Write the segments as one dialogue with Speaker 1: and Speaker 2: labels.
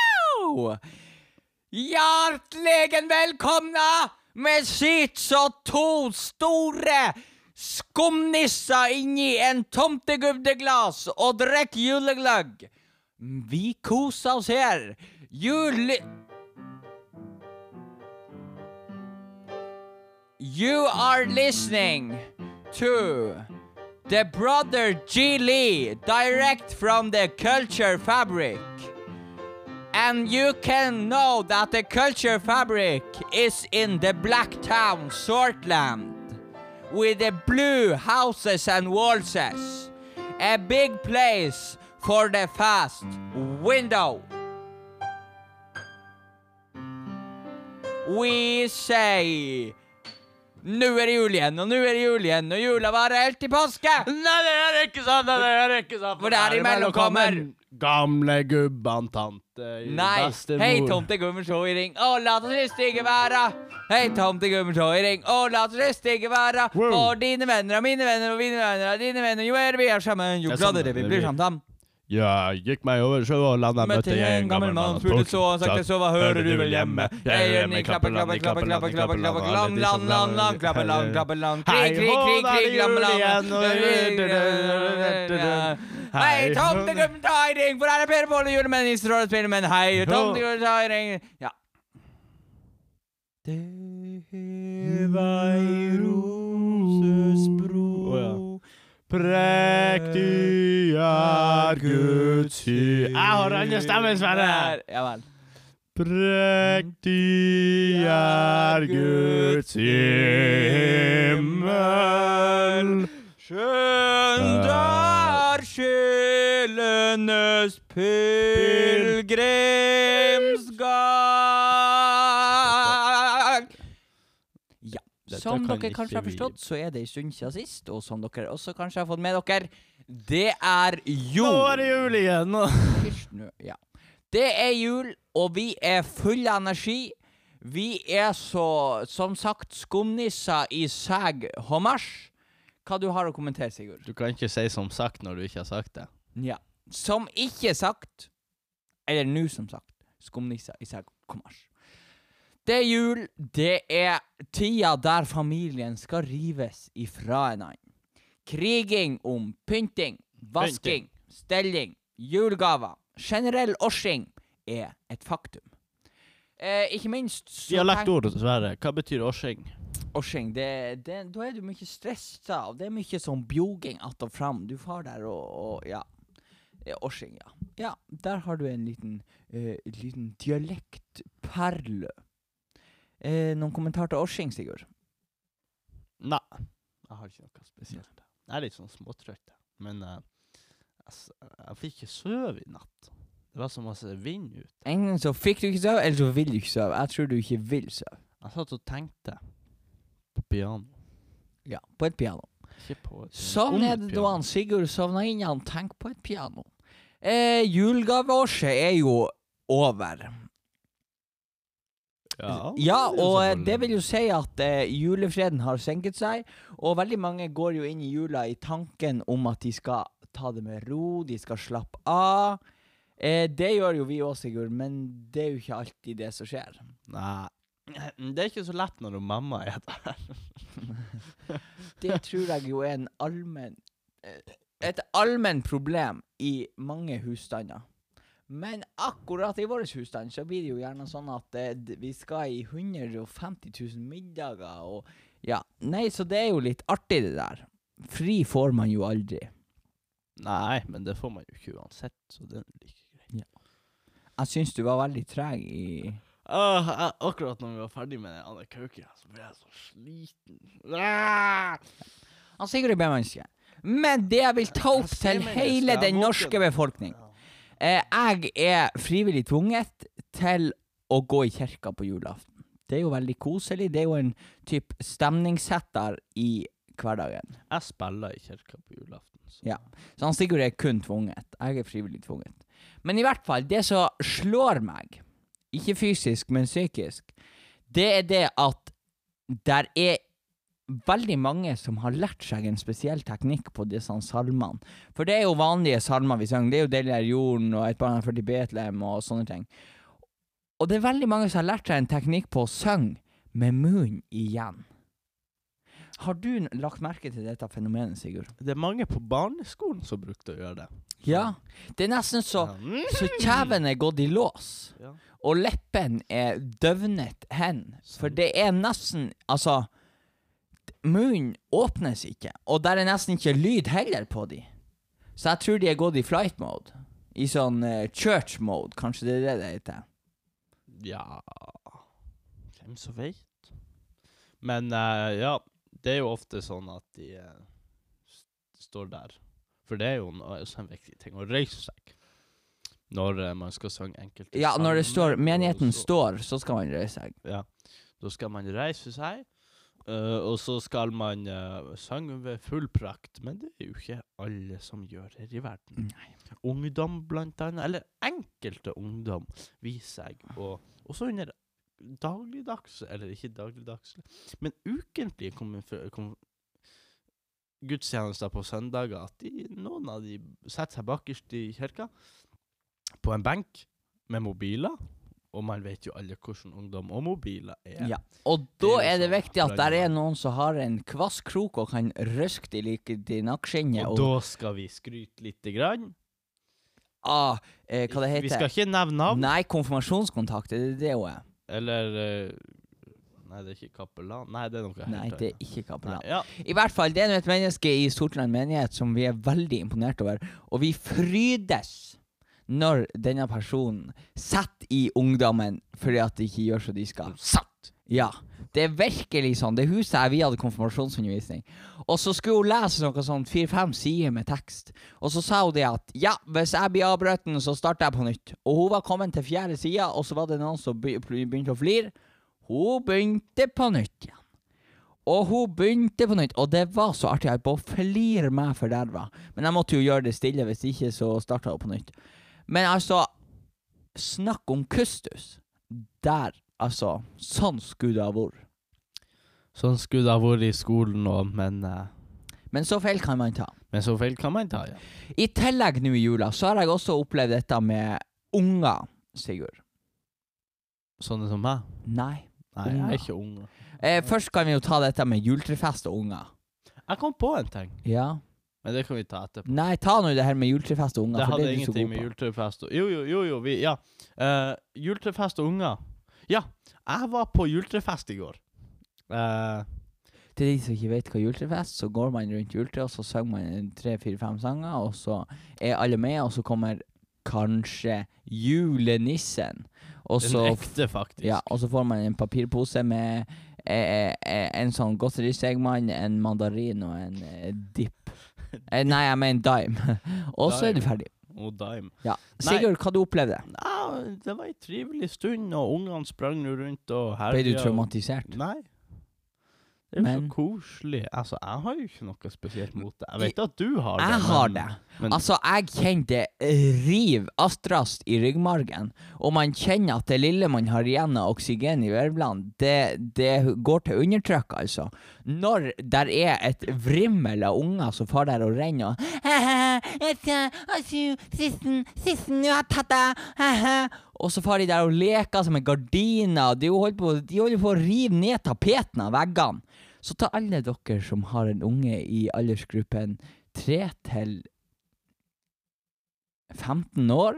Speaker 1: show. Hjertelig velkomna med sitt så to store skumnisser inni en tomtegubdeglass og drekk julegløgg. Vi koser oss her. Jul... You are listening to the brother G. Lee direct from the culture fabric. And you can know that the culture fabric is in the black town, Sortland, with the blue houses and waltzes. A big place for the fast window. We say Nå er det jul igjen, og nå er det jul igjen, og jula varer helt til påske!
Speaker 2: Nei, det er ikke sant! Nei, det er ikke sant!
Speaker 1: For det er imellom kommer-
Speaker 2: Gamle gubban, tante,
Speaker 1: Nei.
Speaker 2: bestemor.
Speaker 1: Hei, tomte Gummershow i ring. Å, la oss lyst ikke være. Hei, tomte Gummershow i ring. Å, la oss lyst ikke være.
Speaker 2: Wow.
Speaker 1: Og dine venner og mine venner og mine venner og dine venner. Jo mer vi er sammen, jo
Speaker 2: Det er
Speaker 1: gladere
Speaker 2: sammen,
Speaker 1: vi
Speaker 2: det
Speaker 1: blir
Speaker 2: blir.
Speaker 1: sammen.
Speaker 2: Ja, gikk meg over sjø og landa, møtte jeg en gammel mann.
Speaker 1: spurte så han sakte så, hva hører du vel hjemme? Jeg gjør meg klappe, klappe, klappe, klappe, klappe, klappe, lang, lang, lang, lang, klappe, lang, klappe, lang, krig, krig, krig, krig, klamme, lang. Hei, tomte Gummershow i ring, for her er Per Pål og julemenn, nisser og spillemenn. Hei, tomte Gummershow i ring. Ja. Det heva i roses bro
Speaker 2: Å, Prektig er Guds hy Jeg har andre stemmen, Sverre!
Speaker 1: Der, Ja vel.
Speaker 2: Prektig er Guds himmel.
Speaker 1: Skjønt er sjelenes pilegrimsgang. Ja.
Speaker 2: Dette
Speaker 1: Som
Speaker 2: kan
Speaker 1: dere kanskje
Speaker 2: ikke
Speaker 1: har
Speaker 2: vi-
Speaker 1: forstått, så er det en stund siden sist, og som dere også kanskje har fått med dere, det er
Speaker 2: Nå
Speaker 1: jul.
Speaker 2: er det jul igjen! nå.
Speaker 1: Hysj nå, ja. Det er jul, og vi er full av energi. Vi er så, som sagt, skumnisser i seg hommage. Hva du har å kommentere, Sigurd?
Speaker 2: Du kan ikke si som sagt når du ikke har sagt det.
Speaker 1: Ja. Som ikke sagt, eller nå som sagt, skumnisser i seg hommage. Det er jul, det er tida der familien skal rives ifra hverandre. Kriging om pynting, vasking, stelling, julegaver, generell årsing er et faktum. Eh, ikke minst så tenk-
Speaker 2: Dialektord, Sverre. Hva betyr årsing?
Speaker 1: Årsing, det, det, da er du mye stressa, og det er mye sånn bjoging att og fram. Du far der og, og ja. Eh, Årsing, ja. Ja, der har du en liten, eh, liten dialektperle. Eh, noen kommentar til Årsing, Sigurd?
Speaker 2: Nei. Jeg har ikke noe spesielt. Jeg er litt sånn småtrøtt, jeg. men eh, jeg, s- jeg fikk ikke sove i natt. Det var så masse vind ut.
Speaker 1: Enten så fikk du ikke sove, eller så vil du ikke sove. Jeg tror du ikke vil sove.
Speaker 2: Jeg satt og tenkte på piano.
Speaker 1: Ja, på et piano.
Speaker 2: Ikke på et piano.
Speaker 1: Sånn
Speaker 2: Om
Speaker 1: er
Speaker 2: et
Speaker 1: det
Speaker 2: piano.
Speaker 1: da han Sigurd sovna inn, han tenker på et piano. Eh, Julegaveåret er jo over.
Speaker 2: Ja,
Speaker 1: Ja,
Speaker 2: det er
Speaker 1: og eh,
Speaker 2: selvfølgelig.
Speaker 1: det vil jo si at eh, julefreden har senket seg, og veldig mange går jo inn i jula i tanken om at de skal ta det med ro, de skal slappe av. Eh, det gjør jo vi òg, Sigurd, men det er jo ikke alltid det som skjer.
Speaker 2: Nei. Det er ikke så lett når mamma er der.
Speaker 1: Det tror jeg jo er en allmenn eh, et allmenn problem i mange husstander. Men akkurat i vår husstand så blir det jo gjerne sånn at eh, d- vi skal i 150 000 middager og Ja. Nei, så det er jo litt artig, det der. Fri får man jo aldri.
Speaker 2: Nei, men det får man jo ikke uansett, så det er like greit.
Speaker 1: Jeg syns du var veldig treg i
Speaker 2: Åh, jeg, akkurat når vi var ferdig med den andre kauken, så ble jeg så sliten. Ah!
Speaker 1: Han Sigurd er B-menneske. Men det jeg vil ta opp
Speaker 2: Jeg sier
Speaker 1: til
Speaker 2: menneske,
Speaker 1: hele
Speaker 2: jeg
Speaker 1: den
Speaker 2: må
Speaker 1: norske
Speaker 2: ikke-
Speaker 1: befolkning eh, Jeg er frivillig tvunget til å gå i kirka på julaften. Det er jo veldig koselig. Det er jo en type stemningssetter i hverdagen.
Speaker 2: Jeg spiller i kirka på julaften. Så.
Speaker 1: Ja. Så han Sigurd er kun tvunget. Jeg er frivillig tvunget. Men i hvert fall, det som slår meg, ikke fysisk, men psykisk, det er det at der er veldig mange som har lært seg en spesiell teknikk på disse salmene. For det er jo vanlige salmer vi synger. Det er jo 'Deilig er jorden' og 'Et barn er født i Betlehem' og sånne ting. Og det er veldig mange som har lært seg en teknikk på å synge med munnen igjen. Har du n- lagt merke til dette fenomenet, Sigurd?
Speaker 2: Det er mange på barneskolen som brukte å gjøre det.
Speaker 1: Ja. Det er nesten så,
Speaker 2: Ja.
Speaker 1: så kjeven er gått i lås,
Speaker 2: Ja.
Speaker 1: og leppen er døvnet hen. For det er nesten Altså, d- munnen åpnes ikke, og der er nesten ikke lyd heller på de. Så jeg tror de er gått i flight mode. I sånn eh, church mode, kanskje det er det det heter.
Speaker 2: Ja Hvem som veit? Men eh, ja, det er jo ofte sånn at de eh, s- står der. For det er jo en, også en viktig ting å reise seg når eh, man skal synge enkelte
Speaker 1: Ja, når det står
Speaker 2: salmer, og
Speaker 1: 'menigheten
Speaker 2: så-
Speaker 1: står', så skal man reise seg.
Speaker 2: Da skal man reise seg, eh, og så skal man eh, synge ved full prakt. Men det er jo ikke alle som gjør her i verden. Ungdom, blant annet, eller enkelte ungdom, viser seg å Også under dagligdags, eller ikke dagligdags, men ukentlige kommun- kom- gudstjenester på søndager, at de, noen av de setter seg bakerst i kirka, på en benk, med mobiler. Og man vet jo alle hvordan ungdom og mobiler er.
Speaker 1: Ja. Og
Speaker 2: Det er
Speaker 1: da
Speaker 2: jo
Speaker 1: er det
Speaker 2: sånn
Speaker 1: viktig at der
Speaker 2: flaggermann.
Speaker 1: er noen som har en kvass krok og kan røske de like i nakkskinnet
Speaker 2: Og
Speaker 1: og,
Speaker 2: da skal vi skryte lite grann.
Speaker 1: ah, eh, Hva det
Speaker 2: Ik- Vi
Speaker 1: heter
Speaker 2: skal ikke nevne navn.
Speaker 1: Nei, konfirmasjonskontakt, er det det hun er?
Speaker 2: Eller eh, Nei, det er ikke kapellan. Nei, det er noe
Speaker 1: Nei,
Speaker 2: helt
Speaker 1: det er
Speaker 2: annet.
Speaker 1: ikke kapellan.
Speaker 2: Nei, Ja,
Speaker 1: I hvert fall, det er nå et menneske i Sortland menighet som vi er veldig imponert over, og vi frydes når denne personen setter i ungdommen fordi at de ikke gjør som de skal.
Speaker 2: satt!
Speaker 1: Ja. Det er virkelig sånn. Det huset her, vi hadde konfirmasjonsundervisning. Og så skulle hun lese noe sånn fire-fem sider med tekst. Og så sa hun det at ja, hvis jeg blir avbrutt, så starter jeg på nytt. Og hun var kommet til fjerde side, og så var det noen som be- begynte å flire. Hun begynte på nytt igjen. Og hun begynte på nytt, og det var så artig. Jeg bare flirer meg forderva. Men jeg måtte jo gjøre det stille, hvis ikke så starta hun på nytt. Men altså, snakk om kustus. Der, altså. Sånn skulle det ha vært.
Speaker 2: Sånn skulle det ha vært i skolen òg, men, eh,
Speaker 1: Men så feil kan man ta.
Speaker 2: men så feil kan man ta, ja.
Speaker 1: I tillegg nå i jula, så har jeg også opplevd dette med unger, Sigurd.
Speaker 2: Sånne som meg.
Speaker 1: Nei.
Speaker 2: Nei, jeg
Speaker 1: Unger.
Speaker 2: er ikke ung.
Speaker 1: Eh, først kan vi jo ta dette med juletrefest og unger.
Speaker 2: Jeg kom på en ting,
Speaker 1: Ja.
Speaker 2: men det kan vi ta etterpå.
Speaker 1: Nei, ta nå det her med juletrefest og unger.
Speaker 2: det
Speaker 1: for
Speaker 2: hadde
Speaker 1: er du så
Speaker 2: ingenting
Speaker 1: god
Speaker 2: med
Speaker 1: på.
Speaker 2: juletrefest og Jo, jo, jo, jo vi, ja. Eh, juletrefest og unger. Ja, jeg var på juletrefest i går. Eh,
Speaker 1: Til de som ikke vet hva juletrefest, så går man rundt juletreet, og så synger man tre-fire-fem sanger, og så er alle med, og så kommer kanskje julenissen. Og
Speaker 2: den
Speaker 1: så,
Speaker 2: ekte, faktisk.
Speaker 1: ja, og så får man en papirpose med eh, eh, eh, en sånn godterisegmann, en mandarin og en eh, dipp. Eh, nei, jeg mener dime. og så er du
Speaker 2: Dime.
Speaker 1: ferdig.
Speaker 2: Og dime.
Speaker 1: Ja.
Speaker 2: Nei.
Speaker 1: Sigurd, hva du opplevde
Speaker 2: Ja, det var ei trivelig stund, og ungene sprang nå rundt og
Speaker 1: Ble du
Speaker 2: herja. og-
Speaker 1: traumatisert?
Speaker 2: Nei. Det er jo
Speaker 1: Men-
Speaker 2: så koselig. Altså, jeg har jo ikke noe spesielt mot det. Jeg vet at du har det.
Speaker 1: Jeg
Speaker 2: men-
Speaker 1: har det.
Speaker 2: men-
Speaker 1: altså, jeg kjente det riv astrast i ryggmargen. Og man kjenner at det lille man har igjen av oksygen i virvlene, det, det går til undertrykk, altså. Når der er et vrimmel av unger som far der og renner og altså, «Jeg skal- å, sju, Sissen, sissen, nå har jeg tatt deg! Og så far de der og leker som med gardiner. De holder på, de holder på å rive ned tapeten av veggene. Så ta alle dere som har en unge i aldersgruppen 3 til 15 år.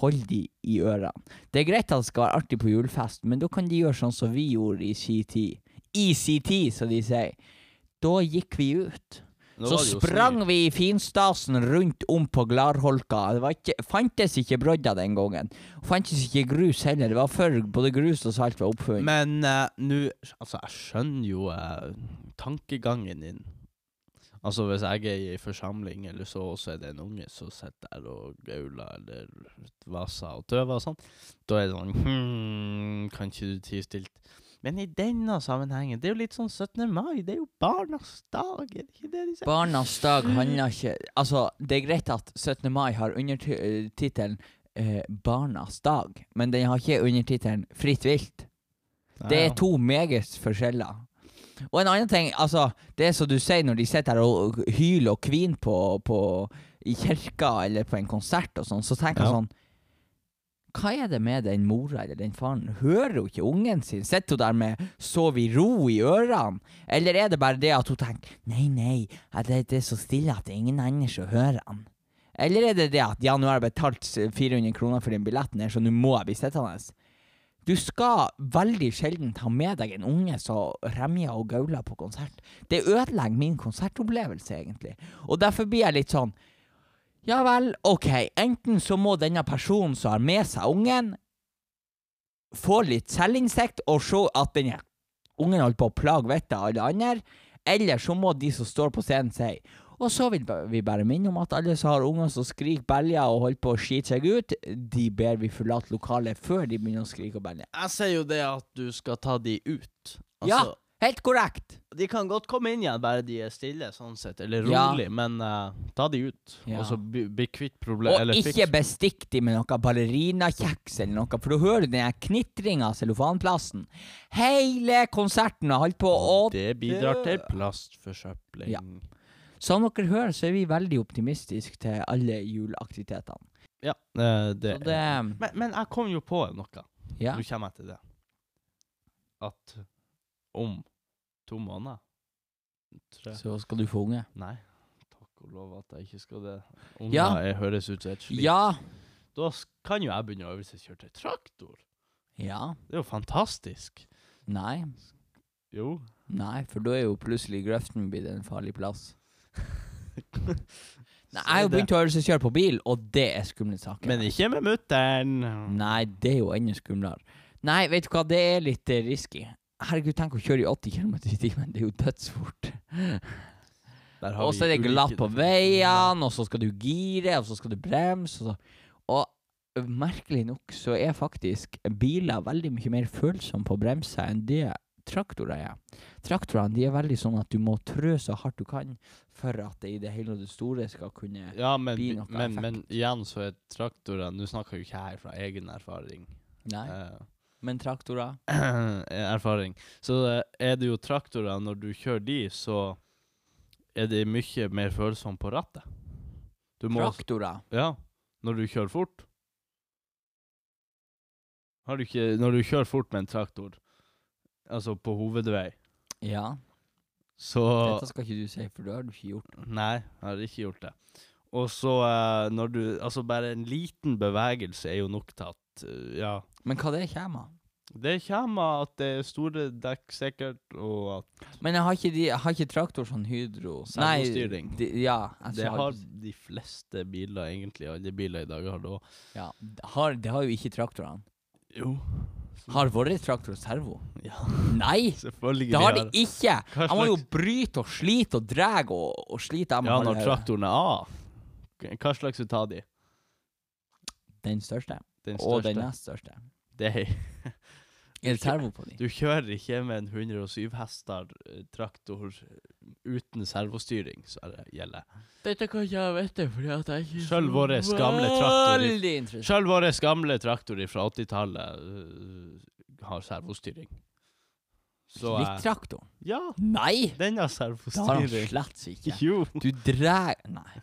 Speaker 1: Hold de i ørene. Det er greit at det skal være artig på julefest, men da kan de gjøre sånn som vi gjorde i sin tid. I sin tid, som de sier. Da gikk vi ut.
Speaker 2: Nå
Speaker 1: Så
Speaker 2: var det jo
Speaker 1: sprang vi i finstasen rundt om på Glarholka. Det var ikke, fantes ikke brodder den gangen. Fantes ikke grus heller. Det var før både grus og salt var
Speaker 2: snill.
Speaker 1: oppfunnet.
Speaker 2: Men eh, nå Altså, jeg skjønner jo eh, tankegangen din. Altså, hvis jeg er i ei forsamling, eller så, og så er det en unge som sitter der og gauler eller vaser og tøver og sånn, da er det sånn hmm, Kan ikke du tie stilt? Men i denne sammenhengen, det er jo litt sånn 17. mai, det er jo barnas dag, er det ikke det de sier?
Speaker 1: Barnas dag handler ikke Altså, det er greit at 17. mai har undertittelen eh, Barnas dag, men den har ikke undertittelen Fritt vilt. Det er to meget forskjeller. Og en annen ting, altså, det er som du sier når de sitter her og hyler og kviner på, på i kirka eller på en konsert og sånn, så tenker jeg
Speaker 2: Ja.
Speaker 1: sånn hva er det med den mora eller den faren? Hører hun ikke ungen sin? Sitter hun der med sov i ro i ørene? Eller er det bare det at hun tenker nei, nei, ja, det, det er så stille at det er ingen andre som hører han? Eller er det det at ja, nå har jeg betalt s- 400 kroner for den billetten her, så nå må jeg bli sittende? Du skal veldig sjelden ta med deg en unge som remjer og gauler på konsert. Det ødelegger min konsertopplevelse, egentlig. Og derfor blir jeg litt sånn ja vel, ok. Enten så må denne personen som har med seg ungen, få litt selvinnsikt og se at denne ungen holder på å plage vettet av alle andre, eller så må de som står på scenen, si Og så vil ba- vi bare minne om at alle som har unger som skriker belger og holder på å skite seg ut, de ber vi forlate lokalet før de begynner å skrike og belge.
Speaker 2: Jeg sier jo det at du skal ta de ut. Altså,
Speaker 1: Ja. Helt korrekt!
Speaker 2: De kan godt komme inn igjen, bare de er stille, sånn sett. Eller
Speaker 1: Ja.
Speaker 2: rolig, men eh, ta de ut.
Speaker 1: Ja.
Speaker 2: Og så bli, bli kvitt problemet.
Speaker 1: Og ikke bestikk de med noe ballerinakjeks eller noe, for du hører den her knitringa av cellofanplasten. Hele konserten har holdt på å
Speaker 2: Det bidrar
Speaker 1: dø.
Speaker 2: til plastforsøpling.
Speaker 1: Ja. Som dere hører, så er vi veldig optimistiske til alle juleaktivitetene.
Speaker 2: Ja, eh, det,
Speaker 1: Så det
Speaker 2: men, men jeg kom jo på noe.
Speaker 1: Ja.
Speaker 2: Nå kommer jeg til det. At om to måneder Tre
Speaker 1: Så skal du få unge.
Speaker 2: Nei, takk og lov at jeg ikke skal det. Unger
Speaker 1: Ja.
Speaker 2: er- høres ut som et slit.
Speaker 1: Ja.
Speaker 2: Da s- kan jo jeg begynne å øvelseskjøre til traktor.
Speaker 1: Ja.
Speaker 2: Det er jo fantastisk.
Speaker 1: Nei.
Speaker 2: Jo.
Speaker 1: Nei, for da er jo plutselig grøften blitt en farlig plass. Nei, jeg har jo
Speaker 2: Så er det.
Speaker 1: begynt å øvelseskjøre på bil, og det er skumle saker.
Speaker 2: Men ikke med mutter'n.
Speaker 1: Nei, det er jo enda skumlere. Nei, vet du hva, det er litt eh, risky. Herregud, tenk å kjøre i 80 km i timen, det er jo dødsfort.
Speaker 2: Der har
Speaker 1: Og
Speaker 2: vi
Speaker 1: så er det
Speaker 2: ulike
Speaker 1: glatt på
Speaker 2: definisjoner.
Speaker 1: veiene, og så skal du gire, og så skal du bremse. Og, så. og merkelig nok så er faktisk biler veldig mye mer følsomme på bremser enn det traktorer er. Traktorene de er veldig sånn at du må trø så hardt du kan for at det i det hele og det store skal kunne
Speaker 2: Ja, men,
Speaker 1: Blir noe
Speaker 2: men, men igjen så er traktorene Nå snakker jeg jo ikke her fra egen erfaring.
Speaker 1: Nei,
Speaker 2: Eh,
Speaker 1: men traktorer
Speaker 2: erfaring. Så eh, er det jo traktorer, når du kjører de, så er de mye mer følsomme på rattet. Du må
Speaker 1: Traktorer?
Speaker 2: Ja, når du kjører fort. Har du ikke Når du kjører fort med en traktor, altså på hovedvei,
Speaker 1: Ja.
Speaker 2: så
Speaker 1: Dette skal ikke du si, for det har du ikke gjort.
Speaker 2: Nei, jeg har ikke gjort det. Og så eh, når du Altså, bare en liten bevegelse er jo nok til at eh, Ja.
Speaker 1: Men hva det kommer av?
Speaker 2: Det kommer at det er store dekk, sikkert, og at
Speaker 1: Men jeg har ikke, de, jeg har ikke traktor sånn hydro Nei,
Speaker 2: Servostyring.
Speaker 1: de, ja, altså, jeg
Speaker 2: Det
Speaker 1: sa
Speaker 2: har de fleste biler, egentlig. Alle biler i dag har det òg.
Speaker 1: Ja, det har, det har jo ikke traktorene.
Speaker 2: Jo.
Speaker 1: Har våre traktor servo?
Speaker 2: Ja,
Speaker 1: Nei!
Speaker 2: selvfølgelig.
Speaker 1: Det har de
Speaker 2: har
Speaker 1: ikke!
Speaker 2: Hva
Speaker 1: Jeg må jo
Speaker 2: slags-
Speaker 1: bryte og slite og dra og, og slite. Jeg må
Speaker 2: Ja,
Speaker 1: holde
Speaker 2: når traktoren er av. Hva slags vil ta de?
Speaker 1: Den største.
Speaker 2: Den
Speaker 1: Og den
Speaker 2: største?
Speaker 1: nest største.
Speaker 2: Det er,
Speaker 1: Er det servo på de?
Speaker 2: du kjører ikke med en 107 hester eh, traktor uten servostyring, så er det gjelder.
Speaker 1: Dette kan ikke jeg vite, fordi at jeg ikke
Speaker 2: Selv vår gamle traktor i-
Speaker 1: Veldig interessant.
Speaker 2: Sjøl vår gamle traktor fra 80-tallet eh, har servostyring. Så eh,
Speaker 1: Litt traktor?
Speaker 2: Ja,
Speaker 1: Nei!
Speaker 2: den har
Speaker 1: Det har han
Speaker 2: servostyring.
Speaker 1: slett ikke.
Speaker 2: Jo.
Speaker 1: Du drar Nei.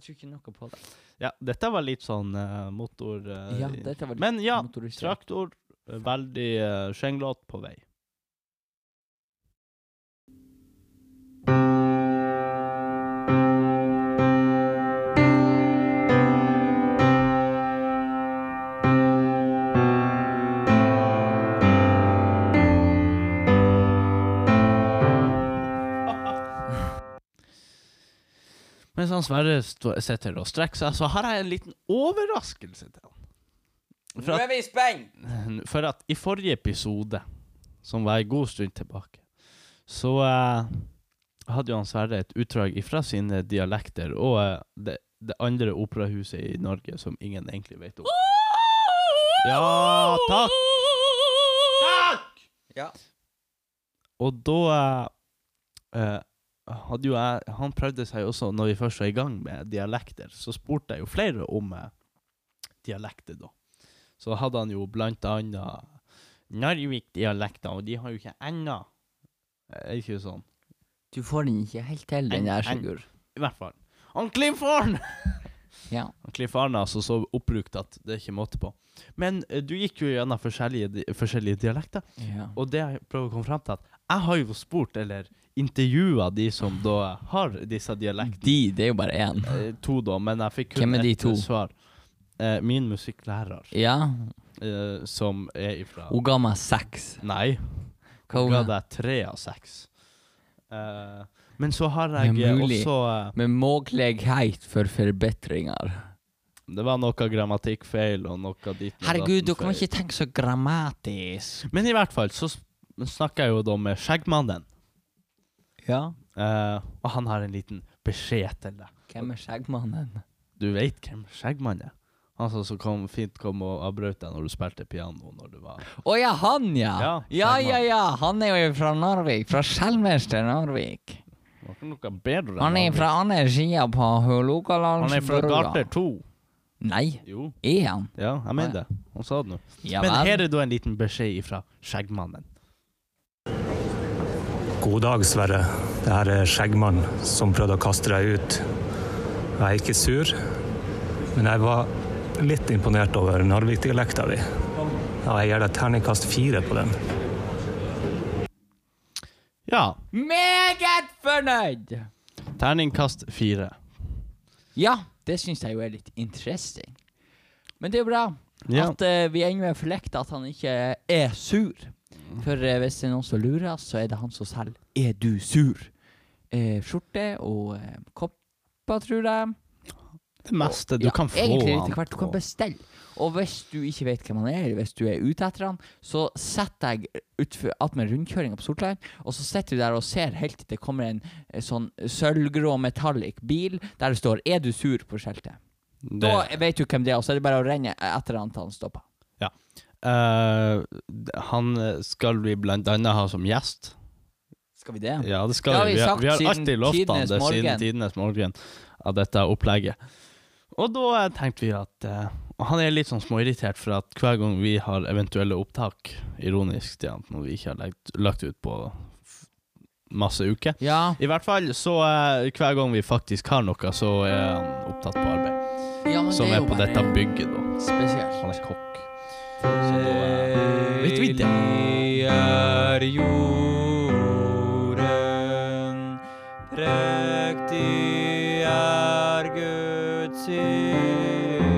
Speaker 1: Jeg tror ikke noe på det.
Speaker 2: Ja, dette var litt sånn eh, motor... eh,
Speaker 1: Ja, dette var litt
Speaker 2: Men ja,
Speaker 1: motorisert.
Speaker 2: traktor, eh, veldig uh, skjenglete på vei. Mens han Sverre stå- sitter og strekker seg, så har jeg en liten overraskelse til han. For
Speaker 1: Nå
Speaker 2: at
Speaker 1: er vi spent!
Speaker 2: for at i forrige episode, som var en god stund tilbake, så eh, hadde jo han Sverre et utdrag ifra sine dialekter og eh, det, det andre operahuset i Norge som ingen egentlig vet om. Ja, takk! Takk!
Speaker 1: Ja.
Speaker 2: Og da eh, eh, hadde jo jeg Han prøvde seg også, når vi først var i gang med dialekter, så spurte jeg jo flere om eh, dialekter, da. Så hadde han jo blant annet Narvik-dialekter, og de har jo ikke ennå. Er ikke det sånn?
Speaker 1: Du får den ikke helt til, den
Speaker 2: En-
Speaker 1: der,
Speaker 2: en-
Speaker 1: Sigurd.
Speaker 2: I hvert fall. Han Klimforn!
Speaker 1: Ja.
Speaker 2: Og Cliff Arne er altså så oppbrukt at det er ikke måte på. Men eh, du gikk jo gjennom forskjellige, di- forskjellige dialekter,
Speaker 1: ja.
Speaker 2: og det jeg prøver å komme fram til at jeg har jo spurt, eller intervjua de som da har disse dialektene.
Speaker 3: De, det er jo bare én.
Speaker 2: Eh, To, da, men jeg fikk
Speaker 3: Hvem
Speaker 2: kun
Speaker 3: er de
Speaker 2: ett
Speaker 3: to?
Speaker 2: svar. Eh, Min musikklærer,
Speaker 3: Ja.
Speaker 2: eh, som er ifra
Speaker 3: Hun ga meg seks.
Speaker 2: Nei,
Speaker 3: Hva
Speaker 2: hun ga
Speaker 3: hun
Speaker 2: deg tre av seks. Eh, men så har
Speaker 3: Det er
Speaker 2: jeg eh,
Speaker 3: mulig.
Speaker 2: også eh,
Speaker 3: Med mulighet for forbedringer.
Speaker 2: Det var noe grammatikkfeil og noe dit og
Speaker 3: Herregud,
Speaker 2: datten
Speaker 3: dere må
Speaker 2: feil.
Speaker 3: ikke tenke så grammatisk.
Speaker 2: Men i hvert fall så s- snakker jeg jo da med Skjeggmannen,
Speaker 3: Ja.
Speaker 2: eh, og han har en liten beskjed til deg.
Speaker 3: Hvem er skjeggmannen?
Speaker 2: Du veit hvem Skjeggmann er? Han som så kom, fint kom og avbrøt deg når du spilte piano når du var
Speaker 3: Å ja, han, ja. Ja,
Speaker 2: Ja,
Speaker 3: ja,
Speaker 2: skjeggmann.
Speaker 3: ja. Han er jo fra Narvik. Fra selveste Narvik.
Speaker 2: Var ikke noe bedre enn
Speaker 3: Han er fra andre sida på Hålogalandsbrua.
Speaker 2: Han er fra Garter 2.
Speaker 3: Nei,
Speaker 2: Jo.
Speaker 3: er han?
Speaker 2: Ja, jeg mener det. Han sa det nå.
Speaker 3: Ja
Speaker 2: Men her
Speaker 3: vel.
Speaker 2: er da en liten beskjed fra Skjeggmannen.
Speaker 4: God dag, Sverre. Det her er Skjeggmann som prøvde å kaste deg ut. Jeg er ikke sur, men jeg var litt imponert over Narvik-dialekta di. Ja, jeg gir deg terningkast fire på den.
Speaker 2: Ja.
Speaker 1: Meget fornøyd!
Speaker 2: Terningkast fire.
Speaker 1: Ja, det syns jeg jo er litt interesting. Men det er jo bra
Speaker 2: Ja.
Speaker 1: at eh, vi ennå er forlekta, at han ikke er sur. For eh, hvis det er noen som lurer, så er det han som selger 'Er du sur?' Eh, skjorte og eh, kopper, tror jeg.
Speaker 2: Det meste du
Speaker 1: Ja,
Speaker 2: kan få.
Speaker 1: Egentlig
Speaker 2: han
Speaker 1: litt hvert. Du kan
Speaker 2: på.
Speaker 1: bestelle. Og hvis du ikke vet hvem han er, eller hvis du er ute etter han, så setter jeg utfor attmed rundkjøringa på Sortland, og så sitter du der og ser helt til det kommer en eh, sånn sølvgrå metallic bil der det står 'Er du sur?' på skiltet.
Speaker 2: Det-
Speaker 1: Da vet du hvem det er, og så er det bare å renne etter han til han stopper.
Speaker 2: Eh, d- han eh, skal vi blant annet ha som gjest.
Speaker 1: Skal vi det?
Speaker 2: Ja, det skal
Speaker 1: Det har
Speaker 2: vi.
Speaker 1: vi
Speaker 2: Vi har,
Speaker 1: sagt
Speaker 2: vi har
Speaker 1: siden
Speaker 2: alltid lovt han
Speaker 1: tidenes
Speaker 2: det siden
Speaker 1: morgen.
Speaker 2: tidenes morgen av dette opplegget. Og da eh, tenkte vi at eh, og Han er litt sånn småirritert for at hver gang vi har eventuelle opptak, ironisk til han, når vi ikke har lagt, lagt ut på f- masse uker
Speaker 1: Ja.
Speaker 2: I hvert fall så eh, hver gang vi faktisk har noe, så er han opptatt på arbeid.
Speaker 1: ja men
Speaker 2: Som
Speaker 1: det
Speaker 2: er
Speaker 1: jo
Speaker 2: på
Speaker 1: bare
Speaker 2: dette bygget, da.
Speaker 1: Spesielt.
Speaker 2: Han er kokk. Så da eh, vet vi det.
Speaker 1: er jorden, prektig er Guds himmel.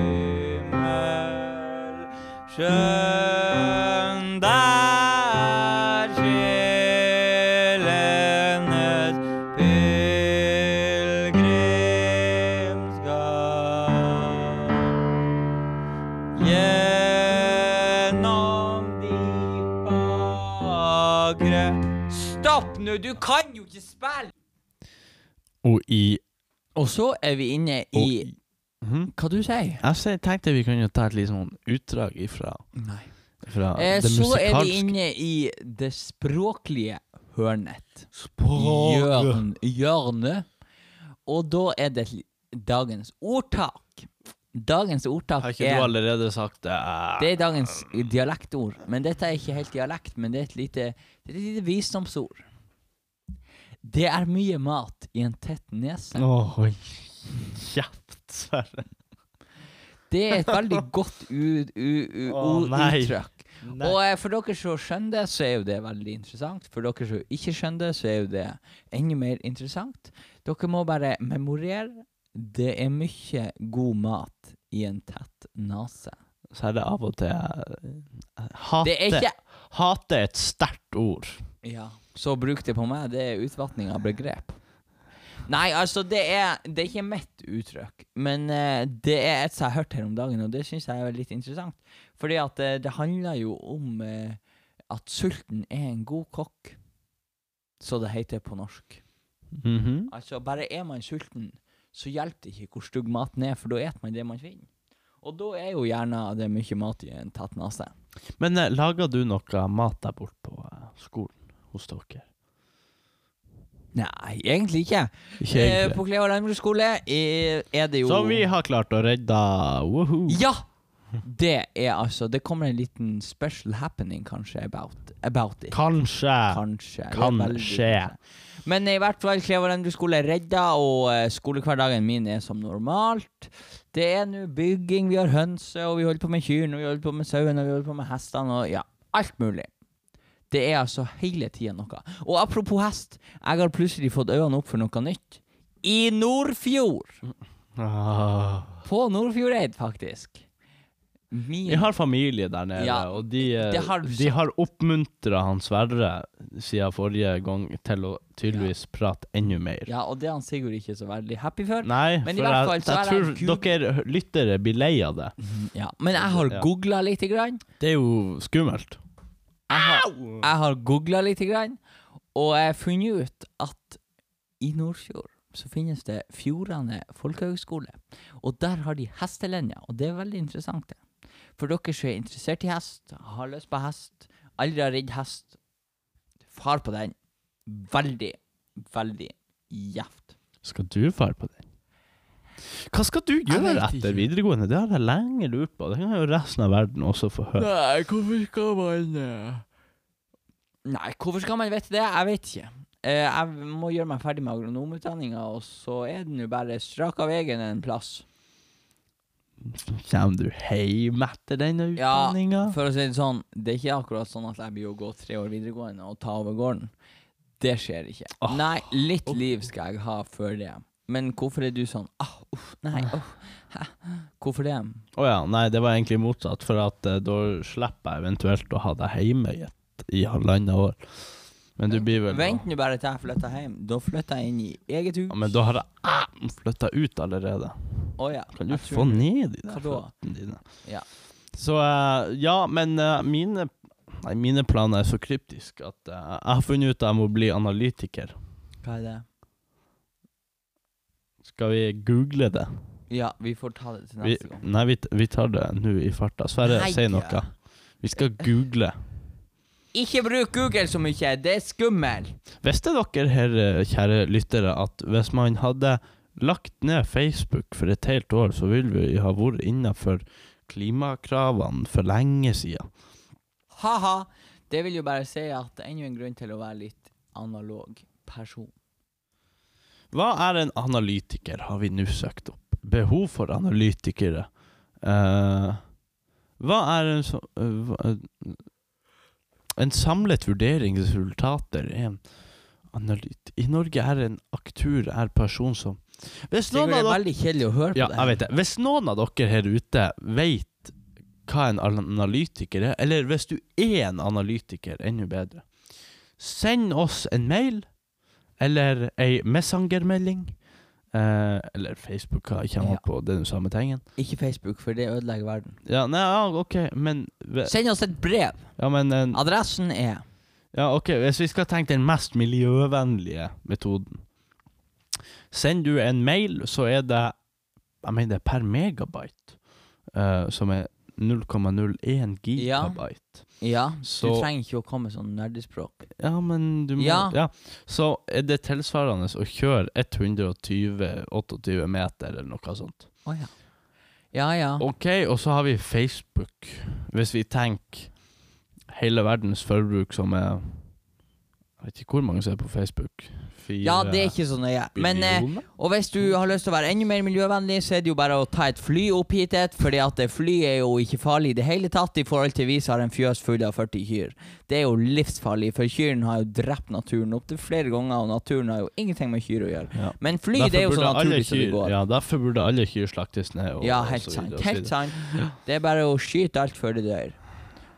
Speaker 1: Skjønn der sjelenes pilegrimskap. Gjennom de fagre Stopp nå, du kan jo ikke spille!
Speaker 2: Og i Hm?
Speaker 1: Og så er vi inne i Hva du sier
Speaker 2: Jeg se- tenkte vi kunne ta et litt sånn utdrag ifra,
Speaker 1: Nei.
Speaker 2: fra
Speaker 1: Eh,
Speaker 2: det
Speaker 1: så er vi
Speaker 2: musikalske
Speaker 1: inne i det språklige hørnet.
Speaker 2: Språket.
Speaker 1: Hjørn, hjørnet. Og da er det li- dagens ordtak. Dagens ordtak
Speaker 2: Har ikke du
Speaker 1: er
Speaker 2: allerede sagt det?
Speaker 1: Det er dagens dialektord. Men dette er ikke helt dialekt, men det er et lite, det er et lite visdomsord. Det er mye mat i en tett nese.
Speaker 2: Åh, kjapt, Sverre.
Speaker 1: Det er et veldig godt u, u, u,
Speaker 2: Å,
Speaker 1: u-
Speaker 2: nei.
Speaker 1: uttrykk. Og eh, for dere som skjønner det, så er jo det veldig interessant. For dere som ikke skjønner det, så er jo det enda mer interessant. Dere må bare memorere. Det er mye god mat i en tett nese.
Speaker 2: Så er det av og til jeg- jeg Hate,
Speaker 1: Det er ikke
Speaker 2: hate er et sterkt ord.
Speaker 1: Ja, så bruk det på meg. Det er utvatning av begrep. Nei, altså, det er, det er ikke mitt uttrykk, men eh, det er et som jeg har hørt her om dagen, og det syns jeg er litt interessant. Fordi at eh, det handler jo om eh, at sulten er en god kokk, så det heter på norsk.
Speaker 2: Mhm.
Speaker 1: Altså, bare er man sulten, så hjelper det ikke hvor stygg maten er, for da eter man det man finner. Og da er jo gjerne det er mye mat i en tett nese.
Speaker 2: Men eh, lager du noe mat der borte på eh, skolen hos dere?
Speaker 1: Nei, egentlig ikke.
Speaker 2: Ikke
Speaker 1: Eh,
Speaker 2: egentlig.
Speaker 1: på Kleva landbruksskole eh, er det jo
Speaker 2: Som vi har klart å redde. Woohoo.
Speaker 1: Ja! Det er altså Det kommer en liten special happening, kanskje, about, about it.
Speaker 2: Kanskje.
Speaker 1: Kanskje. Det er
Speaker 2: Kan
Speaker 1: veldig
Speaker 2: skje.
Speaker 1: kanskje. Men eh, i hvert fall, Kleverendru skole er redda, og eh, skolehverdagen min er som normalt. Det er nå bygging, vi har hønse, og vi holder på med kyrne, og vi holder på med sauene, og vi holder på med hestene, og ja, alt mulig. Det er altså hele tida noe. Og apropos hest, jeg har plutselig fått øynene opp for noe nytt. I Nordfjord!
Speaker 2: Ah.
Speaker 1: På Nordfjordeid, faktisk. Min
Speaker 2: Vi har familie der nede,
Speaker 1: Ja,
Speaker 2: og de, eh,
Speaker 1: det har du
Speaker 2: de
Speaker 1: sagt.
Speaker 2: har oppmuntra han Sverre siden forrige gang til å tydeligvis prate enda mer.
Speaker 1: Ja, og det er han Sigurd ikke så veldig happy for.
Speaker 2: Nei,
Speaker 1: Men i
Speaker 2: for
Speaker 1: hvert
Speaker 2: jeg,
Speaker 1: fall så
Speaker 2: jeg
Speaker 1: er
Speaker 2: tror
Speaker 1: det Gud-
Speaker 2: dere lyttere blir lei av det.
Speaker 1: Ja, men jeg har
Speaker 2: Ja.
Speaker 1: googla lite grann.
Speaker 2: Det er jo skummelt.
Speaker 1: Jeg har, jeg har googla lite grann, og jeg har funnet ut at i Nordfjord så finnes det Fjordane folkehøgskole. Og der har de hestelinja, og det er veldig interessant. det. For dere som er interessert i hest, har lyst på hest, aldri har ridd hest, far på den. Veldig, veldig gjevt.
Speaker 2: Skal du fare på den? Hva skal du gjøre
Speaker 1: vet
Speaker 2: etter
Speaker 1: ikke.
Speaker 2: videregående? Det har jeg lenge lurt på. Det kan jo resten av verden også få høre.
Speaker 1: Nei, hvorfor skal man Nei, hvorfor skal man vite det? Jeg vet ikke. Eh, jeg må gjøre meg ferdig med agronomutdanninga, og så er den jo bare strak av veien en plass.
Speaker 2: Kommer du hjem etter denne
Speaker 1: Ja,
Speaker 2: utdanninga?
Speaker 1: For å si det sånn, det er ikke akkurat sånn at jeg blir å gå tre år videregående og ta over gården. Det skjer ikke.
Speaker 2: Ah.
Speaker 1: Nei, litt liv skal jeg ha før det. Men hvorfor er du sånn ah, uff, nei, uff, hæ? Hvorfor det?
Speaker 2: Å ja, nei, det var egentlig motsatt, for at eh, da slipper jeg eventuelt å ha deg hjemme i, et, i halvannet år. Men du blir vel
Speaker 1: Vent nå bare til jeg flytter hjem. Da flytter jeg inn i eget hus.
Speaker 2: Ja, men da har jeg flytta ut allerede.
Speaker 1: Å ja,
Speaker 2: Kan du
Speaker 1: jeg tror
Speaker 2: få
Speaker 1: det.
Speaker 2: ned de der
Speaker 1: Hva da?
Speaker 2: føttene dine?
Speaker 1: Ja.
Speaker 2: Så eh, Ja, men eh, mine Nei, mine planer er så kryptiske at eh, jeg har funnet ut at jeg må bli analytiker.
Speaker 1: Hva er det?
Speaker 2: Skal vi google det?
Speaker 1: Ja, vi får ta det til
Speaker 2: Vi,
Speaker 1: neste gang.
Speaker 2: nei, vi, t- vi tar det nå i farta. Sverre,
Speaker 1: Nei,
Speaker 2: si
Speaker 1: ja.
Speaker 2: noe. Vi skal google.
Speaker 1: Ikke bruk Google så mye, det er skummelt.
Speaker 2: Visste dere, her, eh, kjære lyttere, at hvis man hadde lagt ned Facebook for et helt år, så ville vi ha vært innafor klimakravene for lenge siden?
Speaker 1: Ha-ha. Det vil jo bare si at det er enda en grunn til å være litt analog person.
Speaker 2: Hva er en analytiker, har vi nå søkt opp. Behov for analytikere. Eh, hva er en så... eh, hva- en samlet vurderingsresultater er en analyt... I Norge er en aktur er person som Hvis
Speaker 1: Det Sånn
Speaker 2: noen av
Speaker 1: er
Speaker 2: dere
Speaker 1: veldig kjedelig å høre
Speaker 2: Ja,
Speaker 1: på det.
Speaker 2: jeg vet det. Hvis noen av dere her ute vet hva en analytiker er, eller hvis du er en analytiker, enda bedre, send oss en mail eller ei Messenger-melding. Eh, eller Facebook, hva jeg kommer
Speaker 1: Ja.
Speaker 2: på, det er den samme tingen.
Speaker 1: Ikke Facebook, for det ødelegger verden.
Speaker 2: Ja, nei, ja, ok, men ve-
Speaker 1: Send oss et brev.
Speaker 2: Ja, men eh, en,
Speaker 1: Adressen er
Speaker 2: Ja, ok, hvis vi skal tenke den mest miljøvennlige metoden Send du en mail, så er det Jeg mener det er per megabyte eh, Som er 0,01 gigabyte
Speaker 1: Ja,
Speaker 2: Så-
Speaker 1: du trenger ikke å komme med sånn nerdespråk.
Speaker 2: ja. men du må ja.
Speaker 1: Ja.
Speaker 2: Så er det tilsvarende å kjøre 120-28 meter eller noe sånt
Speaker 1: Å ja. Ja ja.
Speaker 2: Ok, og så har vi Facebook Hvis vi tenker hele verdens forbruk som er Jeg vet ikke hvor mange som er på Facebook Fire,
Speaker 1: Ja, det er ikke så nøye. Men eh,
Speaker 2: Millioner?
Speaker 1: Og hvis du har lyst til å være enda mer miljøvennlig, så er det jo bare å ta et fly opp hit, et, fordi at det fly er jo ikke farlig i det hele tatt i forhold til vi som har en fjøs full av 40 kyr. Det er jo livsfarlig, for kyrne har jo drept naturen opptil flere ganger, og naturen har jo ingenting med kyr å gjøre.
Speaker 2: Ja.
Speaker 1: Men fly, det er jo så
Speaker 2: burde alle
Speaker 1: naturlig som det
Speaker 2: kyr-
Speaker 1: går.
Speaker 2: Ja, derfor burde alle kyr slaktes ned. Og,
Speaker 1: Ja,
Speaker 2: og
Speaker 1: helt
Speaker 2: så videre,
Speaker 1: sant.
Speaker 2: og så
Speaker 1: Helt
Speaker 2: videre.
Speaker 1: sant. Det er bare å skyte alt før det dør.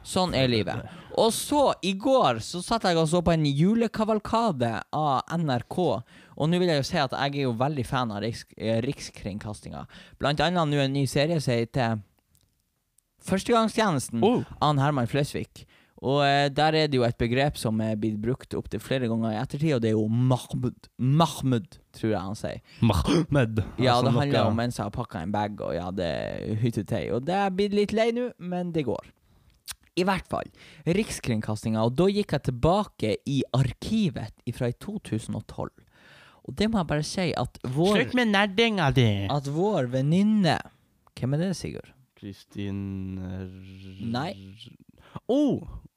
Speaker 1: Sånn er livet. Og så, i går, så satt jeg og så på en julekavalkade av NRK. Og nå vil jeg jo si at jeg er jo veldig fan av riks, eh, Rikskringkastinga. Blant annet nå en ny serie som heter Førstegangstjenesten
Speaker 2: Oh,
Speaker 1: av Herman Flesvig. Og eh, der er det jo et begrep som er blitt brukt opptil flere ganger i ettertid, og det er jo Mahmud. Mahmud, tror jeg han sier.
Speaker 2: Mahmed.
Speaker 1: Ja,
Speaker 2: Altså
Speaker 1: det handler
Speaker 2: noe-
Speaker 1: om en som har pakka en bag og ja, det er hyttetøy. Og det er jeg blitt litt lei nå, men det går. I hvert fall. Rikskringkastinga. Og da gikk jeg tilbake i arkivet fra i 2012. Og det må jeg bare si at vår,
Speaker 2: Slutt med nerdinga di!
Speaker 1: at vår venninne Hvem er det, Sigurd?
Speaker 2: Kristin R-
Speaker 1: Nei.
Speaker 2: Å!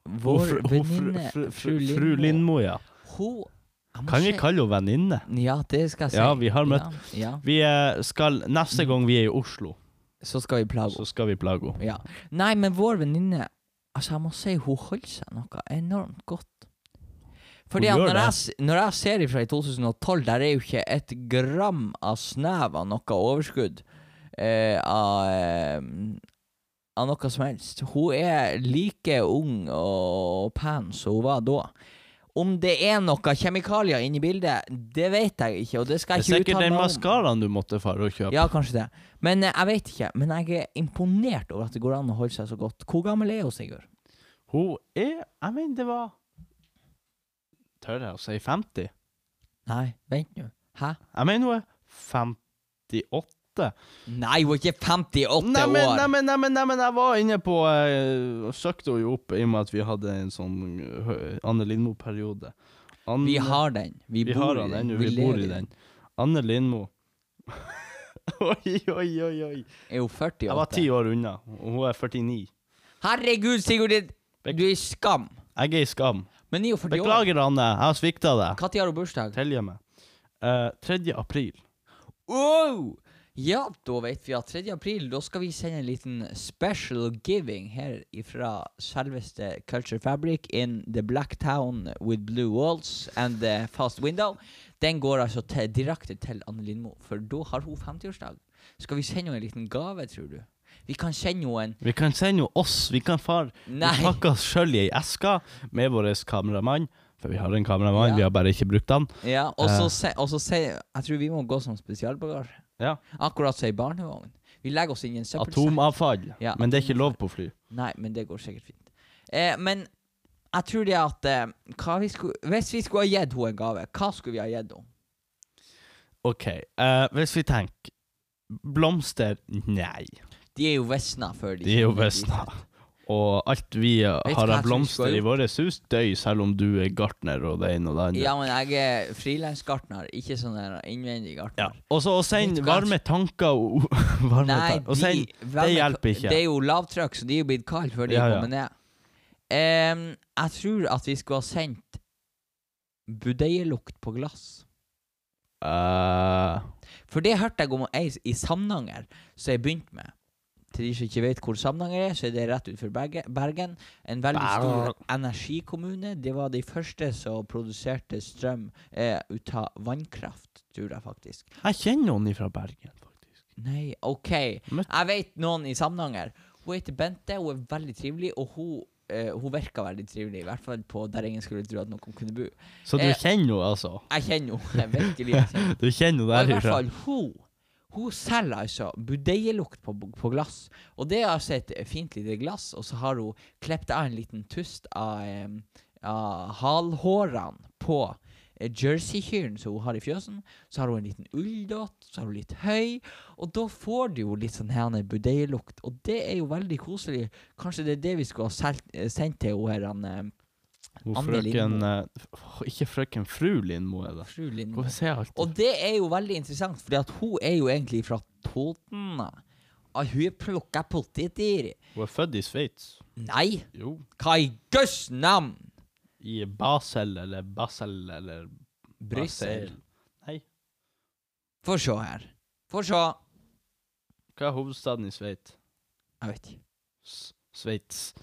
Speaker 2: Hun
Speaker 1: Vår
Speaker 2: fr- hun
Speaker 1: venninne
Speaker 2: fr- fr-
Speaker 1: fru
Speaker 2: fr- Fru
Speaker 1: Lindmo.
Speaker 2: Lindmo, ja.
Speaker 1: Hun Jeg må
Speaker 2: Kan vi
Speaker 1: si-
Speaker 2: kalle henne venninne?
Speaker 1: Ja, det skal jeg si.
Speaker 2: Ja, vi har møtt
Speaker 1: Ja, ja.
Speaker 2: Vi eh, skal, Neste gang vi er i Oslo,
Speaker 1: Så skal vi plage henne.
Speaker 2: så skal vi plage henne.
Speaker 1: Ja. Nei, men vår venninne Altså, jeg må si hun holder seg noe enormt godt. Fordi
Speaker 2: Hun
Speaker 1: at
Speaker 2: gjør
Speaker 1: når
Speaker 2: det.
Speaker 1: jeg, s- når jeg ser ifra i 2012, der er jo ikke et gram av snev av noe overskudd eh, av, eh, av noe som helst. Hun er like ung og pen som hun var da. Om det er noe kjemikalier inne i bildet, det vet jeg ikke, og det
Speaker 2: Det
Speaker 1: skal jeg
Speaker 2: er
Speaker 1: ikke
Speaker 2: sikkert
Speaker 1: uttale
Speaker 2: den
Speaker 1: meg om.
Speaker 2: maskaraen du måtte fare og kjøpe.
Speaker 1: Ja, kanskje det. Men eh, jeg vet ikke. Men jeg er imponert over at det går an å holde seg så godt. Hvor gammel er hun, Sigurd?
Speaker 2: Hun er Jeg mener, det var Tør jeg å si 50?
Speaker 1: Nei, vent nå. Hæ?
Speaker 2: Jeg mener hun er 58.
Speaker 1: Nei, hun er ikke 58
Speaker 2: Neimen,
Speaker 1: år!
Speaker 2: neimen, neimen, neimen, jeg var inne på eh, Søkte henne jo opp i og med at vi hadde en sånn eh, Anne Lindmo-periode. Anne-
Speaker 1: Vi har den. Vi,
Speaker 2: Vi
Speaker 1: bor
Speaker 2: har
Speaker 1: i
Speaker 2: han
Speaker 1: den.
Speaker 2: ennå, vi bor
Speaker 1: lever
Speaker 2: i den. Anne Lindmo. oi, oi, oi, oi.
Speaker 1: Er hun 48?
Speaker 2: Jeg var ti år unna, og hun er 49.
Speaker 1: Herregud, Sigurd, det-
Speaker 2: Bek-
Speaker 1: du er i skam!
Speaker 2: Jeg er i skam.
Speaker 1: Men hun er jo 40 år.
Speaker 2: Beklager, Anne. Jeg har svikta deg.
Speaker 1: Når har hun bursdag?
Speaker 2: Tilgi meg. Eh, 3. april.
Speaker 1: Oh! Ja, da vet vi at 3. april, da skal vi sende en liten special giving her ifra selveste Culture Fabric in the black town with blue walls and the fast window. Den går altså til, direkte til Anne Lindmo, for da har hun 50-årsdag. Skal vi sende henne en liten gave, tror du? Vi kan sende henne en
Speaker 2: Vi kan sende jo oss. Vi kan far
Speaker 1: Nei.
Speaker 2: Vi pakker oss sjøl i ei eske med vår kameramann. For vi har en kameramann,
Speaker 1: Ja.
Speaker 2: vi har bare ikke brukt han.
Speaker 1: Ja, og så
Speaker 2: Eh.
Speaker 1: se, og så se Jeg tror vi må gå som spesialbagasje.
Speaker 2: Ja.
Speaker 1: Akkurat som ei barnevogn. Vi legger oss inn i en søppelsekk.
Speaker 2: Atomavfall.
Speaker 1: Ja,
Speaker 2: Men det er ikke
Speaker 1: atomavfall.
Speaker 2: lov på fly.
Speaker 1: Nei, men det går sikkert fint. Eh, men jeg tror det at eh, hva vi skulle, Hvis vi skulle ha gitt henne en gave, hva skulle vi ha gitt henne?
Speaker 2: OK, eh, hvis vi tenker Blomster? Nei.
Speaker 1: De er jo visna før de
Speaker 2: De er jo
Speaker 1: kommer dit.
Speaker 2: visna. Og alt vi
Speaker 1: du
Speaker 2: har
Speaker 1: hva jeg
Speaker 2: av
Speaker 1: tror vi skal
Speaker 2: blomster i
Speaker 1: gjort?
Speaker 2: vårt hus, dør selv om du er gartner og det ene og det andre.
Speaker 1: Ja, men jeg er frilansgartner, ikke sånn der innvendig gartner.
Speaker 2: Og så å
Speaker 1: Vet
Speaker 2: sende
Speaker 1: du hva?
Speaker 2: varme tanker og varme
Speaker 1: Nei,
Speaker 2: tanker. Og send
Speaker 1: vel,
Speaker 2: hjelper ikke.
Speaker 1: Det er jo lavtrykk, så de er jo blitt kalde før de
Speaker 2: Ja,
Speaker 1: er
Speaker 2: ja.
Speaker 1: kommet ned. Em, jeg tror at vi skulle ha sendt budeielukt på glass.
Speaker 2: Eh,
Speaker 1: For det hørte jeg om ei i Samnanger som jeg begynte med. Til de som ikke vet hvor Samnanger er, så er det rett utenfor Berge- Bergen. En veldig stor energikommune. Det var de første som produserte strøm eh, ut av vannkraft, tror jeg faktisk.
Speaker 2: Jeg kjenner noen fra Bergen, faktisk.
Speaker 1: Nei, OK.
Speaker 2: Men-
Speaker 1: Jeg vet noen i Samnanger. Hun heter Bente, hun er veldig trivelig, og hun, eh, hun virka veldig trivelig. I hvert fall på der ingen skulle tro at noen kunne bo.
Speaker 2: Så du
Speaker 1: Eh,
Speaker 2: kjenner henne, altså?
Speaker 1: Jeg kjenner henne. Virkelig. Jeg kjenner
Speaker 2: Du kjenner
Speaker 1: Og i
Speaker 2: henne
Speaker 1: hvert
Speaker 2: derifra?
Speaker 1: fall hun. Hun selger altså budeielukt på, på glass. Og det er altså et fint lite glass, og så har hun klippet av en liten tust av, em, av halhårene på eh, jerseykyren som hun har i fjøsen. Så har hun en liten ulldott, så har hun litt høy, og da får du jo litt sånn her budeielukt. Og det er jo veldig koselig. Kanskje det er det vi skulle ha selt, eh, sendt til hun her, han, eh, em,
Speaker 2: Hun
Speaker 1: Anne
Speaker 2: frøken eh, f- Ikke frøken fru Lindmo, er det?
Speaker 1: fru Lindmo.
Speaker 2: Hvorfor sier jeg alltid
Speaker 1: Og det er jo veldig interessant, fordi at hun er jo egentlig fra Toten. Og hun er plukka poteter.
Speaker 2: Hun er født i Sveits.
Speaker 1: Nei,
Speaker 2: Jo.
Speaker 1: hva i guds navn?
Speaker 2: I Basel eller Basel eller
Speaker 1: Brussel.
Speaker 2: Basel. Nei.
Speaker 1: Få se her. Få se.
Speaker 2: Hva er hovedstaden i Sveits?
Speaker 1: Jeg vet ikke.
Speaker 2: S- Sveits.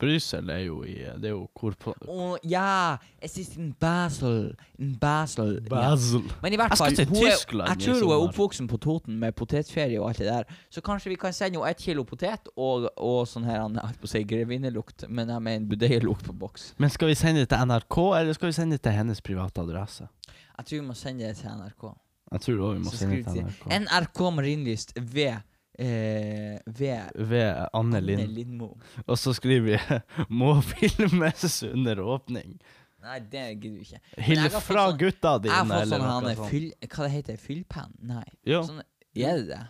Speaker 2: Brussel er jo i eh, Det er jo hvor på
Speaker 1: Å ja, jeg synes in Basel. In Basel. Ja.
Speaker 2: Basel.
Speaker 1: Men i hvert
Speaker 2: Jeg
Speaker 1: fall,
Speaker 2: skal til
Speaker 1: hun er-
Speaker 2: Tyskland
Speaker 1: jeg
Speaker 2: i
Speaker 1: tror hun er
Speaker 2: sommer.
Speaker 1: oppvoksen på Toten med potetferie og alt det der. Så kanskje vi kan sende henne ett kilo potet og, og sånn her, jeg holdt på å si grevinnelukt, men jeg mener budeielukt på boks.
Speaker 2: Men skal vi sende det til NRK, eller skal vi sende det til hennes private adresse?
Speaker 1: Jeg tror vi må sende det til NRK.
Speaker 2: Jeg tror også vi må
Speaker 1: Så
Speaker 2: sende det
Speaker 1: skriv
Speaker 2: til
Speaker 1: til-
Speaker 2: NRK.
Speaker 1: NRK Marienlyst ved eh, Ved
Speaker 2: Ved Anne
Speaker 1: Anne
Speaker 2: Lind.
Speaker 1: Lindmo.
Speaker 2: Og så skriver vi 'Må filmes under åpning'.
Speaker 1: Nei, det gidder vi ikke. Men jeg
Speaker 2: Hill
Speaker 1: har fått
Speaker 2: fra
Speaker 1: sånn-
Speaker 2: gutta dine,
Speaker 1: Jeg har fått
Speaker 2: eller
Speaker 1: sånn han
Speaker 2: noe
Speaker 1: er
Speaker 2: sånt.
Speaker 1: fyll... Hva det heter det? Fyllpenn? Nei.
Speaker 2: Ja.
Speaker 1: Sånn, er det det?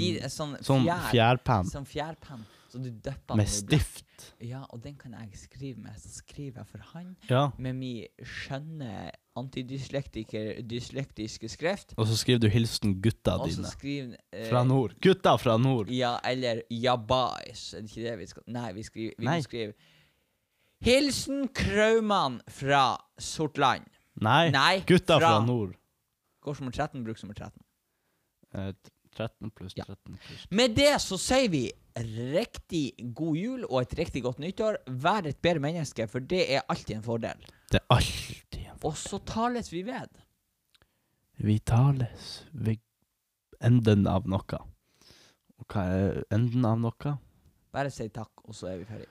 Speaker 1: De er sånn
Speaker 2: Sånn
Speaker 1: fjær...
Speaker 2: fjærpenn
Speaker 1: Sånn fjærpenn. Så du dypper den
Speaker 2: med
Speaker 1: i
Speaker 2: stift.
Speaker 1: blekk. Ja, og den kan jeg skrive med. Så skriver jeg for han
Speaker 2: Ja.
Speaker 1: med min skjønne antidyslektiske skreft.
Speaker 2: Og så skriver du 'hilsen gutta
Speaker 1: Og så
Speaker 2: dine'.
Speaker 1: skriver eh,
Speaker 2: Fra nord. Gutta fra nord!
Speaker 1: Ja, eller jabais. Er det ikke det vi skal Nei, vi, skriver, vi
Speaker 2: Nei.
Speaker 1: må skrive Hilsen Kraumann fra Sortland.
Speaker 2: Nei,
Speaker 1: Nei,
Speaker 2: gutta fra,
Speaker 1: fra-
Speaker 2: nord.
Speaker 1: Går som 13, bruk som 13.
Speaker 2: Eh, 13 pluss
Speaker 1: Ja.
Speaker 2: 13 pluss.
Speaker 1: Med det så sier vi riktig god jul og et riktig godt nyttår. Vær et bedre menneske, for det er alltid en fordel.
Speaker 2: Det er alltid en
Speaker 1: Og så tales vi ved.
Speaker 2: Vi tales ved enden av noe. Og hva er enden av noe?
Speaker 1: Bare si takk, og så er vi ferdig.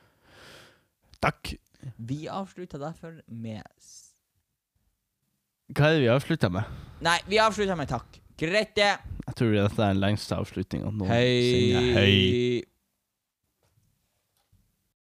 Speaker 2: Takk!
Speaker 1: Vi avslutter derfor med s-
Speaker 2: Hva er det vi avslutter med?
Speaker 1: Nei, vi avslutter med takk. Greit, det.
Speaker 2: Jeg tror dette er den lengste avslutninga noensinne.
Speaker 1: Hei.